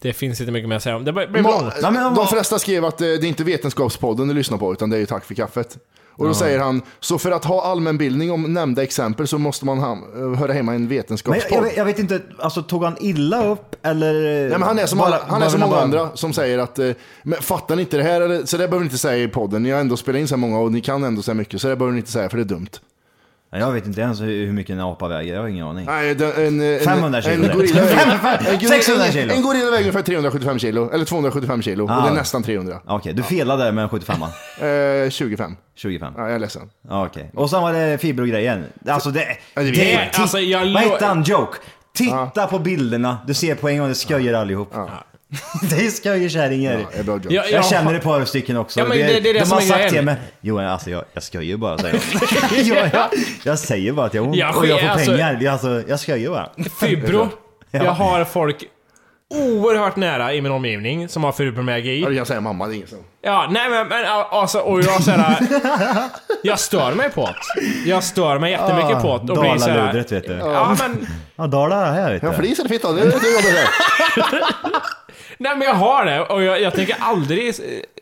Speaker 5: Det finns inte mycket mer att säga om. Det blev blev långt.
Speaker 4: Nej, men han
Speaker 2: De
Speaker 4: var-
Speaker 2: flesta skrev att eh, det är inte Vetenskapspodden du lyssnar på, utan det är ju Tack för kaffet. Och då säger han, så för att ha allmänbildning om nämnda exempel så måste man ham- höra hemma i en
Speaker 4: Men jag, jag,
Speaker 2: vetenskapspodd.
Speaker 4: vet- jag vet inte, alltså tog han illa upp eller?
Speaker 2: Nej, men han är som,
Speaker 4: Bara-
Speaker 2: alla, han är
Speaker 4: bara-
Speaker 2: som många
Speaker 4: bara-
Speaker 2: andra som säger att eh, men fattar ni inte det här, eller, så det behöver ni inte säga i podden. Ni har ändå spelat in så här många och ni kan ändå så här mycket, så det behöver ni inte säga för det är dumt.
Speaker 4: Ja, Jag vet inte ens hur hur mycket en apa väger, jag har ingen aning.
Speaker 2: Nej, den- en, eh, en,
Speaker 4: 500 kilo.
Speaker 2: En gorilla, väger-
Speaker 4: 600
Speaker 2: en,
Speaker 4: kilo.
Speaker 2: en gorilla väger ungefär 375 kilo, eller 275 kilo, och det är
Speaker 4: Ah.
Speaker 2: nästan 300.
Speaker 4: Okej, du felade där med 75
Speaker 2: Eh, 25.
Speaker 4: 25.
Speaker 2: Ja, jag är ledsen.
Speaker 4: Ja, Okej. Och sen var det fibrogrejen. Alltså det...
Speaker 2: det vet jag
Speaker 5: inte. Alltså, jag
Speaker 4: Vad
Speaker 5: lo-
Speaker 4: hette han? Joke? Titta på bilderna. Du ser på en gång, det sköjer allihop. det är sköjerkärringar.
Speaker 2: Jag är bra joke.
Speaker 5: Ja,
Speaker 4: Jag känner ett par stycken också.
Speaker 5: Ja, men det- det är det
Speaker 4: de
Speaker 5: som
Speaker 4: har
Speaker 5: är
Speaker 4: sagt
Speaker 5: grejen.
Speaker 4: till mig, Johan alltså jag, jag skojar bara säger de. jag, jag, jag säger bara att jag har ont
Speaker 5: Jag
Speaker 4: och jag får
Speaker 5: sker, alltså-
Speaker 4: pengar. Det är Alltså, jag skojar bara.
Speaker 5: Fibro.
Speaker 4: Ja.
Speaker 5: Jag har folk oerhört nära i min omgivning som har fibromyalgi. Ja,
Speaker 2: du kan säga mamma, det är inget så.
Speaker 5: Ja, nej men, men alltså, och jag såhär... jag stör mig på det. Jag stör mig jättemycket på det och blir såhär...
Speaker 4: Ah, Dalaludret vet du.
Speaker 5: Ja, men...
Speaker 4: Ja, Dala här vet du.
Speaker 5: Ja, flis
Speaker 2: eller fitta? Det är det jobbet där.
Speaker 5: Nej men jag har det och jag, jag tänker aldrig s-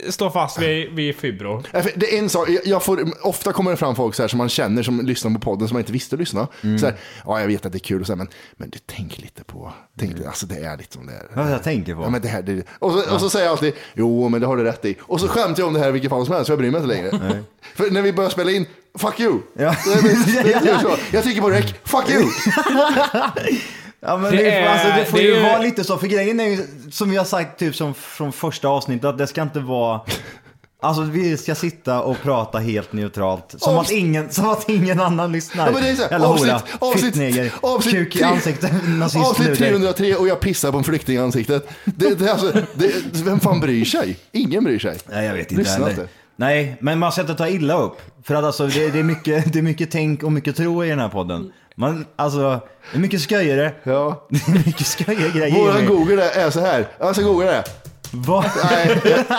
Speaker 5: stå fast vid, vid fibro.
Speaker 2: Ja, för Det är en sak, jag- jag får, ofta kommer det fram folk så här som man känner som lyssnar på podden som man inte visste lyssna. Så här, ja, jag vet att det är kul och så här, men, men du tänk lite på, tänk lite, alltså det är lite som det är.
Speaker 4: Ja, jag tänker på.
Speaker 2: Ja, men det här, det, och, så, och så säger jag alltid, jo men det har du rätt i. Och så skämtar jag om det här i vilket fall som helst, så jag bryr mig inte längre. För när vi börjar spela in, fuck you. Så jag blir- det blir så. Jag trycker på rec, fuck you.
Speaker 4: Ja, men
Speaker 2: Det
Speaker 4: det,
Speaker 2: är-
Speaker 4: alltså, det får
Speaker 2: det
Speaker 4: ju
Speaker 2: är ju-
Speaker 4: vara lite så, för grejen är ju som vi har sagt typ som från första avsnittet att det ska inte vara Alltså vi ska sitta och prata helt neutralt. Som,
Speaker 2: Avs-
Speaker 4: att, ingen, som att ingen annan lyssnar.
Speaker 2: Ja, men det är så här,
Speaker 4: Eller hora,
Speaker 2: avsnitt- avsnitt-
Speaker 4: fittneger,
Speaker 2: avsnitt
Speaker 4: kuk i
Speaker 2: tre-
Speaker 4: ansiktet,
Speaker 2: Avsnitt
Speaker 4: nazistluder.
Speaker 2: 303 och jag pissar på en flykting i ansiktet. Det, det, alltså, det, vem fan bryr sig? Ingen bryr sig.
Speaker 4: Nej, jag vet inte
Speaker 2: Lyssna
Speaker 4: heller.
Speaker 2: inte.
Speaker 4: Nej, men man ska inte ta illa upp. För att alltså, det, det, är mycket, det är mycket tänk och mycket tro i den här podden. Man, alltså, det är mycket sköjare.
Speaker 2: Ja.
Speaker 4: Det är mycket sköjare grejer.
Speaker 2: Våran
Speaker 4: Jimmy.
Speaker 2: Google är så här. Jag ska googla det.
Speaker 4: Va?
Speaker 2: Nej,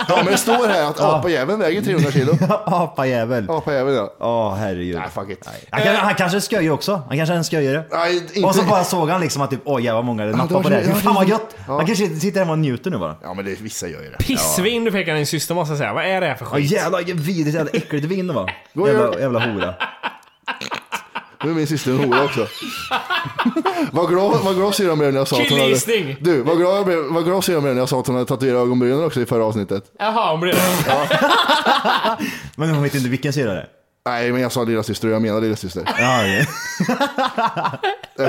Speaker 2: ja, men det står här att apajäveln väger 300 kilo.
Speaker 4: Apajävel.
Speaker 2: Apajävel ja.
Speaker 4: Ja, herregud.
Speaker 2: Nej, fuck it. Nej.
Speaker 4: Han, kan, han kanske är sköj också. Han kanske är en sköjare.
Speaker 2: Nej, inte-
Speaker 4: Och så bara såg han liksom att typ, oj jävlar vad många det
Speaker 2: det var
Speaker 4: nappar på
Speaker 2: så-
Speaker 4: det. här.
Speaker 2: ja,
Speaker 4: Fan vad
Speaker 2: det-
Speaker 4: gött.
Speaker 2: ja.
Speaker 4: Han kanske sitter hemma och njuter nu bara.
Speaker 2: Ja, men det, vissa gör ju det.
Speaker 5: Pissvin du pekar din syster måste jag säga. Vad är det här för
Speaker 4: Ja
Speaker 5: skit?
Speaker 4: jävlar vilket vidrigt jävla äckligt vin va.
Speaker 2: Gå och
Speaker 4: Jävla,
Speaker 2: gör-
Speaker 4: jävla hora.
Speaker 2: Nu är min syster en hora också. Vad glad, vad glad syrran blev när jag sa att hon hade...
Speaker 5: Killgissning.
Speaker 2: Du, vad glad, jag blev, vad glad syrran blev när jag sa att hon hade tatuerat ögonbrynen också i förra avsnittet.
Speaker 5: Jaha, hon blir
Speaker 4: Men hon vet inte vilken syrra det är.
Speaker 2: Nej, men jag sa lilla syster och jag menar lilla syster.
Speaker 4: Ja,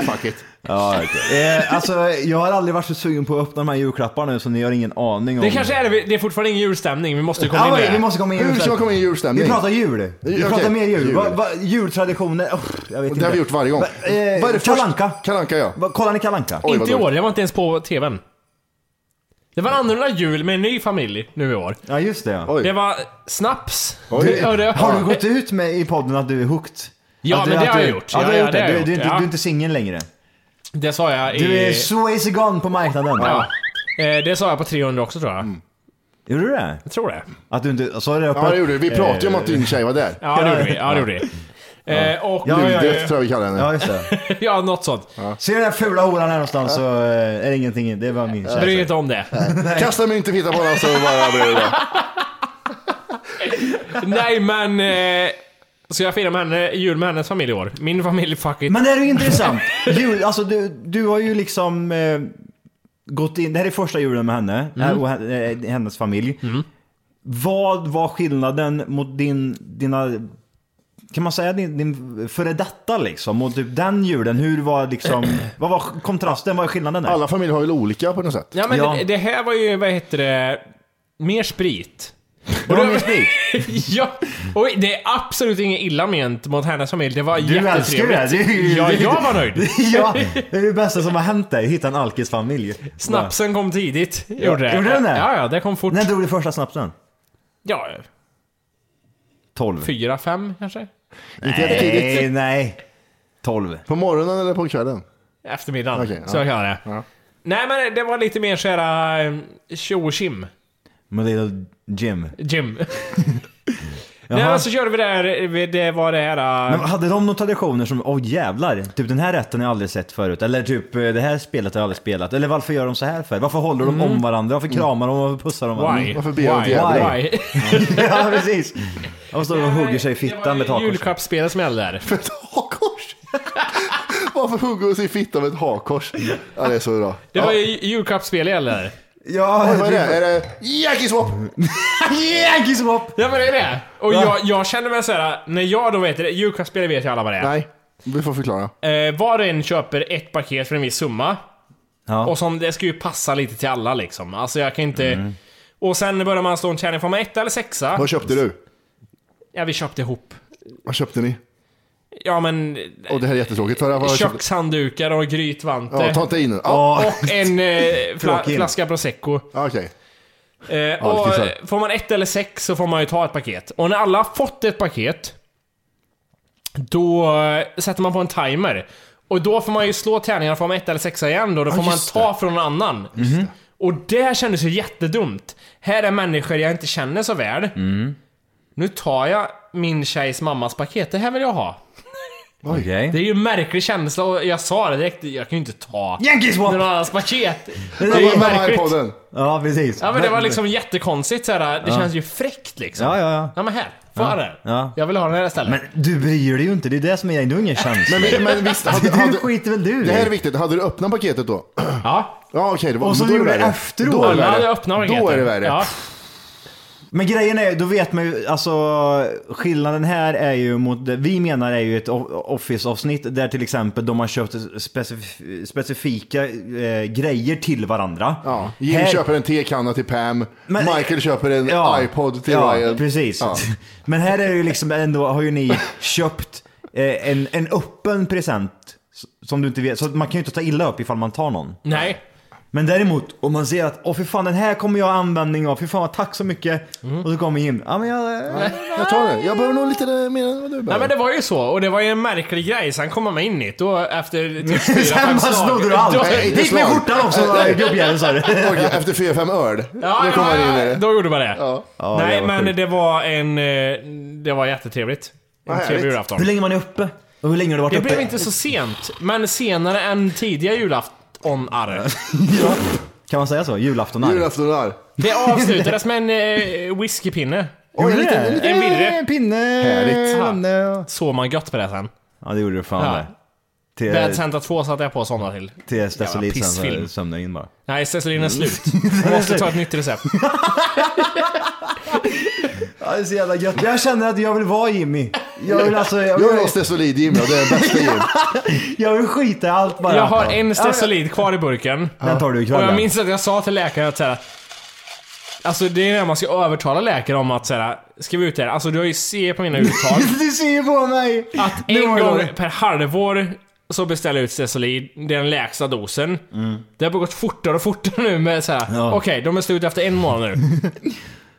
Speaker 4: okej.
Speaker 2: Eh, Fuck it.
Speaker 4: Ja, okej. eh, alltså, jag har aldrig varit så sugen på att öppna de här julklapparna nu så ni har ingen aning om.
Speaker 5: Det kanske är det, vi- det är fortfarande ingen julstämning. Vi måste komma
Speaker 4: Ja,
Speaker 5: in med
Speaker 4: men
Speaker 5: det.
Speaker 4: vi måste komma in i
Speaker 2: Hur ska man komma Mm, in i julstämning?
Speaker 4: Vi pratar jul. Vi
Speaker 2: Okej,
Speaker 4: pratar mer jul.
Speaker 2: jul.
Speaker 4: Va, va, jultraditioner. Oh, jag vet inte.
Speaker 2: Det har vi gjort varje gång.
Speaker 4: Va, eh,
Speaker 2: Vad är det först-
Speaker 4: Kalanka.
Speaker 2: Kalanka ja.
Speaker 4: Va, kollar ni Kalanka?
Speaker 2: Oj, vad
Speaker 5: inte i
Speaker 2: dåligt.
Speaker 5: år, jag var inte ens på tvn. Det var annorlunda jul med en ny familj nu i år.
Speaker 4: Ja, just det. Ja.
Speaker 2: Oj.
Speaker 5: Det var snaps.
Speaker 4: Du,
Speaker 5: Ja, det-
Speaker 4: har du gått ut med i podden att du är hooked?
Speaker 5: Ja,
Speaker 4: att du,
Speaker 5: men det
Speaker 4: att
Speaker 5: har
Speaker 4: du-
Speaker 5: jag gjort.
Speaker 4: Ja,
Speaker 5: Ja,
Speaker 4: du har
Speaker 5: ja,
Speaker 4: gjort
Speaker 5: det
Speaker 4: det.
Speaker 5: har
Speaker 4: Du,
Speaker 5: jag
Speaker 4: du, är
Speaker 5: gjort,
Speaker 4: inte-
Speaker 5: ja.
Speaker 4: du är inte singel längre.
Speaker 5: Det sa jag i...
Speaker 4: Du är så easy gone på marknaden.
Speaker 5: ja. Eh, Det sa jag på 300 också tror jag.
Speaker 4: Mm. Gjorde du det?
Speaker 5: Jag tror det.
Speaker 4: Att du inte... Sa du det öppet?
Speaker 2: Ja, det gjorde vi. Vi pratade ju om att din tjej var där.
Speaker 5: Eh. Ja, det gjorde vi. Ja, det gjorde vi. Eh, Och...
Speaker 4: Ja, ja,
Speaker 2: Ludet tror jag vi kallar henne.
Speaker 4: Ja, just det.
Speaker 5: Ja, något sånt.
Speaker 4: Ser du den här fula horan här någonstans så eh, är det ingenting. Det var min
Speaker 5: Bry dig
Speaker 4: känsla.
Speaker 5: inte om det.
Speaker 2: Kasta mynt och titta på honom så bara blir det.
Speaker 5: Nej men... eh, Ska jag fira med henne, jul med hennes familj i år? Min familj, fuck it.
Speaker 4: Men det är ju intressant. Jul, alltså du, du har ju liksom eh, gått in, det här är första julen med henne
Speaker 5: Mm.
Speaker 4: eh, och he- eh, hennes familj. Vad var skillnaden mot din, dina, kan man säga din, din före detta liksom? Och typ den julen, hur var liksom, vad var kontrasten, vad är skillnaden där?
Speaker 2: Alla familjer har väl olika på något sätt.
Speaker 5: Ja men
Speaker 4: Ja.
Speaker 5: Det, det här var ju, vad heter det, mer sprit.
Speaker 4: Det var mer sprit.
Speaker 5: ja, och det är absolut inget illa ment mot hennes familj. Det var
Speaker 4: Du älskar ju det. här. det är ju-
Speaker 5: jättetrevligt. Ja, jag var nöjd.
Speaker 4: ja, det är det bästa som har hänt dig, hitta en alkisfamilj.
Speaker 5: Snapsen kom tidigt.
Speaker 4: Ja.
Speaker 5: Gjorde det.
Speaker 4: Gjorde den det?
Speaker 5: Ja, ja, det kom fort.
Speaker 4: När drog du första snapsen?
Speaker 5: Ja,
Speaker 4: 12.
Speaker 5: fyra, fem kanske?
Speaker 2: Inte jättetidigt.
Speaker 4: Nej, nej. 12.
Speaker 2: På morgonen eller på kvällen?
Speaker 5: Eftermiddagen.
Speaker 2: Okej,
Speaker 5: så
Speaker 2: ja.
Speaker 5: jag kallade det.
Speaker 2: Ja.
Speaker 5: Nej men det var lite mer eh, såhär tjo och tjim.
Speaker 4: Med lilla Jim.
Speaker 5: Jim. Nej men så körde vi där, det var det här... eh,
Speaker 4: Men hade de några traditioner som, åh jävlar, typ den här rätten har jag aldrig sett förut. Eller typ eh, det här spelet har jag aldrig spelat. Eller varför gör de så här för? Varför håller de om varandra? Varför kramar de? Varför pussar de varandra?
Speaker 5: Mm.
Speaker 4: Mm.
Speaker 2: Varför ber
Speaker 5: Why?
Speaker 2: jag inte
Speaker 4: jävlar?
Speaker 5: Why?
Speaker 4: ja precis. De står och hugger sig i fittan med
Speaker 5: Det var
Speaker 4: taket.
Speaker 5: julklappsspelet som gällde där.
Speaker 2: För ett hakkors? Varför hugger hon sig i fittan med ett hakkors? Ja, det är så bra.
Speaker 5: Det var ju julklappsspel gällde där.
Speaker 4: Ja,
Speaker 2: Oj, vad är det? Är det Jackie Swap?
Speaker 4: Jäkisvap!
Speaker 5: Ja men det är det! Och
Speaker 4: Ja.
Speaker 5: jag, jag känner mig såhär, när jag då vet det, julklappsspel vet ju alla vad det är.
Speaker 2: Nej, vi får förklara.
Speaker 5: Eh, var och en köper ett paket för en viss summa.
Speaker 4: Ja.
Speaker 5: Och som, det ska ju passa lite till alla liksom. Alltså jag kan inte... Och sen börjar man slå en tärning. Får man etta eller sexa?
Speaker 2: Vad köpte du?
Speaker 5: Ja, vi köpte ihop.
Speaker 2: Vad köpte ni?
Speaker 5: Ja men...
Speaker 2: Och det här är jättetråkigt. Vad- vad köpte-
Speaker 5: Kökshanddukar och grytvante.
Speaker 2: Ja, ta inte in den. Ja.
Speaker 4: Ja.
Speaker 5: Och en eh, fla-
Speaker 4: Tråkig.
Speaker 5: flaska prosecco.
Speaker 2: Ja, Okej.
Speaker 5: Eh,
Speaker 2: det
Speaker 5: och
Speaker 2: finns
Speaker 5: eh, får man ett eller sex så får man ju ta ett paket. Och när alla har fått ett paket, då eh, sätter man på en timer. Och då får man ju slå tärningarna, får man ett eller sexa igen då, då
Speaker 1: Ja,
Speaker 5: får man
Speaker 1: just
Speaker 5: ta från någon annan. Mm-hmm. Och det kändes ju jättedumt. Här är människor jag inte känner så väl.
Speaker 4: Mm.
Speaker 5: Nu tar jag min tjejs mammas paket, det här vill jag ha. Det är ju en märklig känsla och jag sa det direkt, jag kan ju inte ta
Speaker 4: Yankee swap!
Speaker 5: någon annans paket. Det
Speaker 4: Det
Speaker 5: är ju
Speaker 4: var mamma i
Speaker 5: märkligt.
Speaker 4: podden. Ja, precis.
Speaker 5: Ja men det var liksom jättekonstigt såhär, det
Speaker 4: Ja.
Speaker 5: känns ju fräckt liksom.
Speaker 4: Ja, ja, ja.
Speaker 5: Ja men här, få
Speaker 4: Ja.
Speaker 5: ja. det.
Speaker 4: Ja.
Speaker 5: Jag vill ha den här istället.
Speaker 4: Men du bryr dig ju inte, det är det som är grejen. Du har ingen chans.
Speaker 2: Men, vi- men visst, hade,
Speaker 4: Alltså,
Speaker 2: hade,
Speaker 4: du skiter väl du i?
Speaker 2: Det här är viktigt. Hade du öppnat paketet då?
Speaker 5: Ja.
Speaker 2: Ja, okej. det var-
Speaker 4: Och så
Speaker 2: då är
Speaker 4: gjorde
Speaker 2: det
Speaker 4: du
Speaker 2: värre.
Speaker 4: efteråt.
Speaker 2: Då är det
Speaker 4: Ja,
Speaker 2: värre.
Speaker 4: jag öppnade
Speaker 2: Då är
Speaker 4: paketet.
Speaker 2: det värre.
Speaker 4: Ja. Men grejen är, då vet man ju, alltså skillnaden här är ju mot det vi menar är ju ett o- Office-avsnitt där till exempel de har köpt specif- specifika eh, grejer till varandra. Ja,
Speaker 2: Jim köper en tekanna till Pam. Michael köper en iPod till
Speaker 4: ja,
Speaker 2: Ryan.
Speaker 4: precis.
Speaker 2: Ja.
Speaker 4: Men här är det ju liksom ändå, har ju ni köpt eh, en, en öppen present s- som du inte vet, så att man kan ju inte ta illa upp ifall man tar någon.
Speaker 5: Nej.
Speaker 4: Men däremot om man ser att åh för fan den här kommer jag ha användning av, för fan tack så mycket.
Speaker 2: Mm.
Speaker 4: Och så kommer Jim, ja men jag... eh,
Speaker 2: Jag tar det. Jag behöver nog lite eh, mer än vad du
Speaker 5: Nej
Speaker 2: behöver.
Speaker 5: men det var ju så, och det var ju en märklig grej. Sen kommer man in hit och efter typ fyra, fem slag... Då-
Speaker 2: Gick med skjortan
Speaker 5: också, gubbjäveln, sa du.
Speaker 2: Efter fyra, fem öl.
Speaker 5: Ja,
Speaker 2: då kommer man in i det.
Speaker 5: Då gjorde man det.
Speaker 2: Ja,
Speaker 5: Nej
Speaker 2: det var
Speaker 5: men
Speaker 2: sjukt.
Speaker 5: det var en... eh, Det var jättetrevligt. En trevlig julafton.
Speaker 4: Hur länge man är uppe? Och hur länge har du varit
Speaker 5: Det
Speaker 4: uppe?
Speaker 5: blev inte så sent, men senare än tidiga julaftonar.
Speaker 4: Kan man säga så? Julaftonar?
Speaker 2: Julaftonar.
Speaker 5: Det avslutades med en eh, whiskypinne.
Speaker 4: Oj, en liten- en
Speaker 5: en,
Speaker 4: liten
Speaker 5: en virre.
Speaker 4: pinne. Härligt.
Speaker 5: Ja. Såg man gött på det sen?
Speaker 4: Ja det gjorde du fan
Speaker 5: Ja.
Speaker 4: det.
Speaker 5: Bad
Speaker 4: Till,
Speaker 5: Santa 2 satte jag på och somnade till.
Speaker 4: till Stesolid sen
Speaker 5: pissfilm.
Speaker 4: sömnade jag in bara. Alltså,
Speaker 5: Nej, Cecilin är slut. Jag måste ta ett nytt recept.
Speaker 4: Ja, det är så jävla gött. Jag känner att jag vill vara Jimmy. Jag vill alltså... Jag
Speaker 2: Jag
Speaker 4: vill,
Speaker 2: är hos Desolid Jim, ja. Det är den bästa Jim.
Speaker 4: jag vill skita i allt bara.
Speaker 5: Jag har en
Speaker 4: Ja,
Speaker 5: Stesolid kvar i burken.
Speaker 4: Den tar du ikväll,
Speaker 5: Och jag
Speaker 4: ja.
Speaker 5: minns att jag sa till läkaren att såhär... Alltså det är när man ska övertala läkare om att såhär, ska vi ut det här? Alltså du har ju se på mina uttag.
Speaker 4: Du ser ju på mig!
Speaker 5: Att
Speaker 4: Nu
Speaker 5: en
Speaker 4: har jag
Speaker 5: gång
Speaker 4: det.
Speaker 5: per halvår så beställer jag ut Stesolid, det är den lägsta dosen. Det har gått fortare och fortare nu med såhär,
Speaker 4: Mm. Ja.
Speaker 5: okej de är slut efter en månad nu.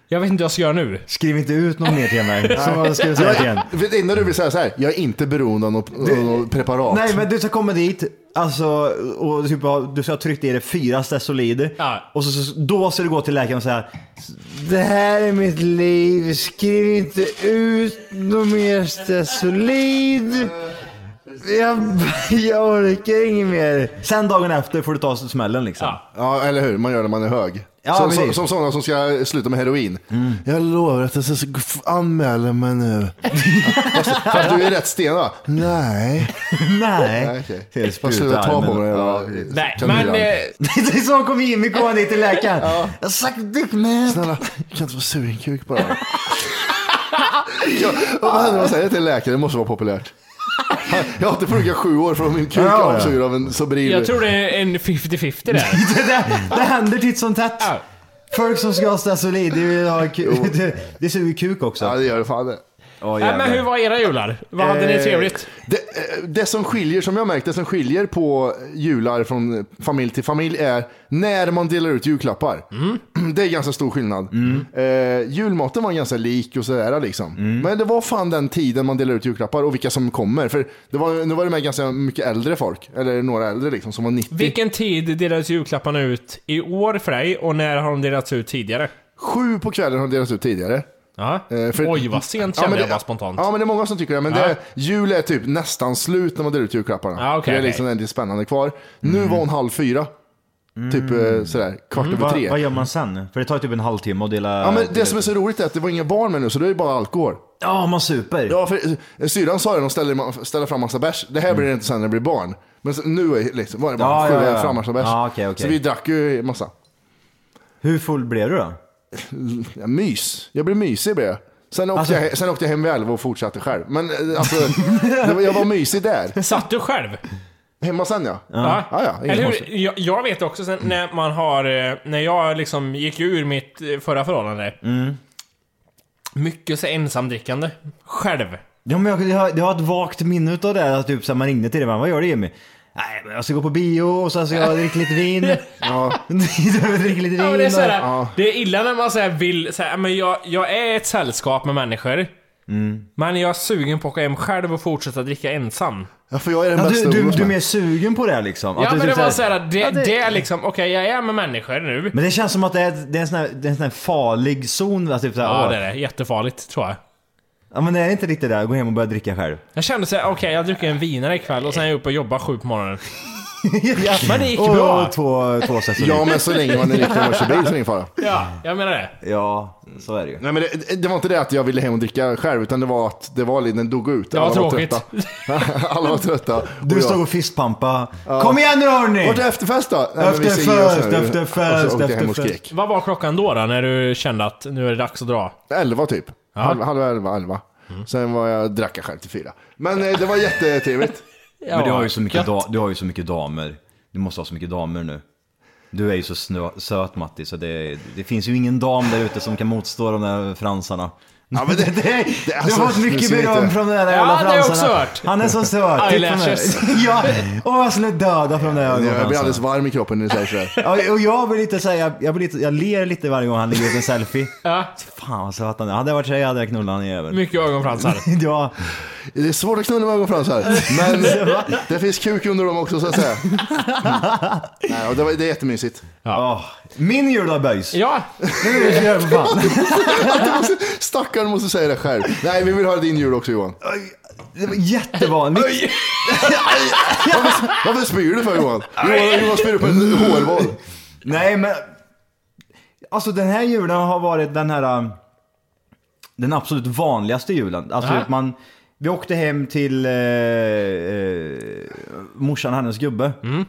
Speaker 5: jag vet inte vad jag ska göra nu.
Speaker 4: Skriv inte ut något mer till mig. Så vad ska jag säga
Speaker 2: Jag-
Speaker 4: till en?
Speaker 2: Vet du, Innan du vill säga så här, jag är inte beroende av något, av något preparat.
Speaker 4: Nej men du ska komma dit, alltså, och typ, ha- du ska ha tryckt i dig fyra Stesolid. Och så, så, då ska du gå till läkaren och säga Det här är mitt liv, skriv inte ut något mer Stesolid. Jag, jag orkar inget mer. Sen dagen efter får du ta smällen liksom.
Speaker 2: Ja, eller hur? Man gör det när man är hög.
Speaker 4: Ja,
Speaker 2: som,
Speaker 4: precis.
Speaker 2: som, som sådana som ska sluta med heroin. Mm. Jag lovar att jag ska f- anmäla mig nu. fast, fast du är rätt stenad. Nej.
Speaker 4: Nej.
Speaker 2: okej.
Speaker 4: Till spruta
Speaker 2: Bara sluta ta på
Speaker 4: armen.
Speaker 2: mig.
Speaker 4: Ja,
Speaker 2: Ja,
Speaker 4: precis.
Speaker 5: Nej,
Speaker 2: kanylan.
Speaker 5: men... Eh,
Speaker 4: Det är så kom Jimmy kommer dit till läkaren. Jag suck dick man.
Speaker 2: Snälla, kan inte vara sur i en kuk bara. ja, och vad händer om man säger till en läkare? Det måste vara populärt. Jag har inte pluggat sju år för att min kuk
Speaker 4: Ja, ja.
Speaker 2: är avsugen av en sobril.
Speaker 5: jag tror det är en 50-50 där.
Speaker 4: det, det, det händer titt som tätt. Folk som ska ha Stesolid, det vill ha
Speaker 2: Jo.
Speaker 4: kuk. Det, det suger kuk också.
Speaker 2: Ja, det gör det fan det.
Speaker 5: Nej, men hur var era jular? Vad hade ni
Speaker 2: Eh,
Speaker 5: trevligt?
Speaker 2: Det, eh, det som skiljer, som jag märkt, det som skiljer på jular från familj till familj är när man delar ut julklappar. Det är ganska stor skillnad. Eh, julmaten var ganska lik och sådär liksom. Men det var fan den tiden man delar ut julklappar och vilka som kommer. För det var, nu var det med ganska mycket äldre folk, eller några äldre liksom, som var 90.
Speaker 5: Vilken tid delades julklapparna ut i år för dig och när har de delats ut tidigare?
Speaker 2: Sju på kvällen har delats ut tidigare. Eh, för-
Speaker 5: Oj, vad sent
Speaker 2: Ja,
Speaker 5: kände
Speaker 2: men
Speaker 5: jag
Speaker 2: det-
Speaker 5: bara spontant.
Speaker 2: Ja, men det är många som tycker det. Men
Speaker 5: Ja.
Speaker 2: det, jul är typ nästan slut när man delar ut julklapparna.
Speaker 5: Ja, okej,
Speaker 2: det är
Speaker 5: okej.
Speaker 2: liksom lite spännande kvar. Nu var hon halv fyra. Typ eh, sådär, kvart
Speaker 5: Mm.
Speaker 2: över tre.
Speaker 4: Mm, Vad, vad gör man sen? För det tar typ en halvtimme att dela...
Speaker 2: Ja, men det som är så roligt är att det var inga barn med nu, så det är ju bara alkohol.
Speaker 4: Ja, man super.
Speaker 2: Ja, för eh, syrran sa det, de ställer, ställer fram massa bärs. Det här blir det inte sen när det blir barn. Men så, nu är, liksom, var det bara
Speaker 4: Ja,
Speaker 2: sju
Speaker 4: ja, ja.
Speaker 2: fram massa bärs.
Speaker 4: Ja, okej, okej.
Speaker 2: Så vi drack ju massa.
Speaker 4: Hur full blev du då?
Speaker 2: Ja, mys. Jag blev mysig blev jag. Sen åkte,
Speaker 4: Alltså-
Speaker 2: jag, sen åkte jag hem vid elva och fortsatte själv. Men eh, alltså, det var, jag var mysig där.
Speaker 5: Satt du själv?
Speaker 2: Hemma sen ja.
Speaker 5: Ja.
Speaker 2: ja, ja inget
Speaker 5: Eller
Speaker 2: konstigt.
Speaker 5: hur? Jag, jag vet också sen när man har... eh, När jag liksom gick ur mitt eh, förra förhållande.
Speaker 2: Mm.
Speaker 5: Mycket så ensamdrickande. Själv.
Speaker 4: Ja, men jag, jag, har- jag har ett vagt minne utav det, här, att typ så här, man ringde till dig men vad gör du Jimmy? Nej, men jag ska gå på bio och så ska jag dricka lite vin.
Speaker 2: Ja.
Speaker 4: dricka lite vin.
Speaker 5: Ja, men det, är
Speaker 4: och-
Speaker 5: såhär, det är illa när man såhär vill... Såhär, men jag, jag är ett sällskap med människor.
Speaker 2: Mm.
Speaker 5: Men jag är sugen på att åka hem själv och fortsätta dricka ensam.
Speaker 2: Ja, för jag är den
Speaker 4: Ja,
Speaker 2: bästa
Speaker 4: du, du,
Speaker 2: ungdomen.
Speaker 4: du är mer sugen på det här, liksom?
Speaker 5: Ja,
Speaker 4: Att du
Speaker 5: men det
Speaker 4: typ
Speaker 5: var
Speaker 4: så här-
Speaker 5: såhär, det,
Speaker 4: Ja,
Speaker 5: det... är liksom, okej jag är med människor nu.
Speaker 4: Men det känns som att det är, det är, en, sån här, det är en sån här farlig zon. va, Typ så här,
Speaker 5: Ja,
Speaker 4: åh.
Speaker 5: det är det. Jättefarligt, tror jag.
Speaker 4: Ja, men det är inte riktigt det. där, Gå hem och börja dricka själv.
Speaker 5: Jag kände såhär, okej jag dricker en vinare ikväll och sen är jag uppe och jobbar sju på morgonen.
Speaker 4: ja,
Speaker 5: men det gick
Speaker 4: och,
Speaker 5: bra.
Speaker 4: Och två, två sätt
Speaker 2: Ja, men så länge man är nykter och man kör bil så är det ingen fara.
Speaker 5: Ja, jag menar det.
Speaker 4: Ja, så är det ju.
Speaker 2: Nej, men det, det var inte det att jag ville hem och dricka själv, utan det var att det var, lite- den dog ut.
Speaker 5: Det var tråkigt.
Speaker 2: trötta. Alla var trötta.
Speaker 4: Du stod och fistpampa. Kom igen nu hörni!
Speaker 2: Vart är efterfest då? Nej, men vi
Speaker 4: Efterfest,
Speaker 2: säger oss nu.
Speaker 4: efterfest,
Speaker 2: Och så åkte jag hem och
Speaker 4: efterfest.
Speaker 2: skrek.
Speaker 5: Vad var klockan då, då när du kände att nu är det dags att dra?
Speaker 2: Elva typ. Halv, halv elva, elva.
Speaker 4: Mm.
Speaker 2: Sen var jag, drack jag själv till fyra. Men eh, det var jättetrevligt.
Speaker 4: men du har, ju så mycket da, du har ju så mycket damer. Du måste ha så mycket damer nu. Du är ju så snö, söt Matti, så det, det finns ju ingen dam där ute som kan motstå de där fransarna.
Speaker 2: Ja, men det,
Speaker 4: det,
Speaker 2: det, alltså,
Speaker 4: du har fått mycket beröm från de där
Speaker 5: Ja,
Speaker 4: jävla
Speaker 5: det
Speaker 4: fransarna.
Speaker 5: har jag också hört.
Speaker 4: Han är så söt. Titta på mig.
Speaker 5: Eyelashes.
Speaker 4: ja, och jag skulle döda från de där
Speaker 2: Jag, jag blir
Speaker 4: ögonfransarna.
Speaker 2: alldeles varm i kroppen när du säger sådär.
Speaker 4: Ja, och jag blir lite såhär, jag, jag, blir lite, jag ler lite varje gång han lägger ut en selfie.
Speaker 5: Ja.
Speaker 4: Fan vad söt han är. Hade jag varit tjej hade jag knullat honom i över.
Speaker 5: Mycket ögonfransar.
Speaker 4: ja.
Speaker 2: Det är svårt att knulla med ögonfransar. Men det finns kuk under dem också så att säga. Nej, och det, var, det är jättemysigt.
Speaker 4: Ja. Min jul då böjs.
Speaker 5: Ja,
Speaker 4: Nu är det jul för fan.
Speaker 2: Stackaren måste säga det själv. Nej, vi vill ha din jul också Johan.
Speaker 4: Det var jättevanligt.
Speaker 2: Varför, varför spyr du för Johan? Johan, Johan spyr på en hårboll.
Speaker 4: Nej men. Alltså den här julen har varit den här. um, Den absolut vanligaste julen. Alltså
Speaker 5: Aha.
Speaker 4: att man. Vi åkte hem till eh, eh, morsan och hennes gubbe.
Speaker 5: Mm.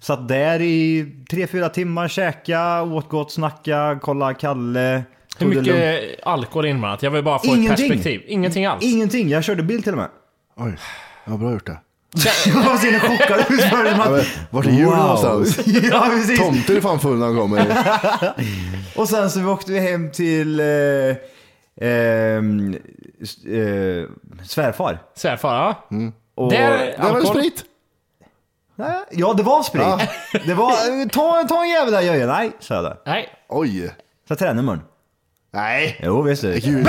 Speaker 4: Satt där i tre fyra timmar, käka, åt gott, snacka, kolla Kalle.
Speaker 5: hur
Speaker 4: tog det lugnt.
Speaker 5: mycket alkohol inblandat? Jag vill bara få ett
Speaker 4: Ingenting.
Speaker 5: perspektiv. Ingenting alls.
Speaker 4: Ingenting, jag körde bil till och med.
Speaker 2: Oj, vad bra gjort det.
Speaker 4: Jag var så inne chockad. Hur var det? Man-
Speaker 2: Vart är julen
Speaker 4: Wow.
Speaker 2: någonstans?
Speaker 4: Ja precis.
Speaker 2: Tomten är fan full när han kommer.
Speaker 4: Och sen så åkte vi hem till eh, ehm, s- eh, svärfar.
Speaker 5: Svärfar, ja.
Speaker 4: Mm. Och,
Speaker 5: Där,
Speaker 2: Det var
Speaker 5: alkohol.
Speaker 2: sprit.
Speaker 4: Nej, Ja, det var sprit.
Speaker 2: Ja.
Speaker 4: Det var, eh, ta, ta en jävel där Jöje. Nej, sa jag det.
Speaker 5: Nej.
Speaker 2: Oj.
Speaker 4: Så jag tränade i mun.
Speaker 2: Nej.
Speaker 4: Jo, visst. är det.
Speaker 2: Gud.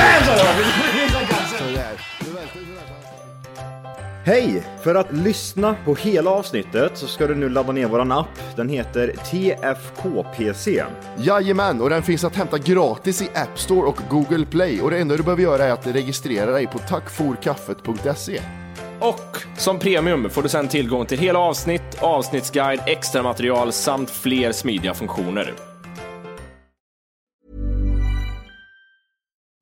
Speaker 4: Hej! För att lyssna på hela avsnittet så ska du nu ladda ner våran app. Den heter TFKPC.
Speaker 2: Jajamän, och den finns att hämta gratis i App Store och Google Play. Och det enda du behöver göra är att registrera dig på tackforkaffet.se.
Speaker 1: Och som premium får du sedan tillgång till hela avsnitt, avsnittsguide, extra material samt fler smidiga funktioner.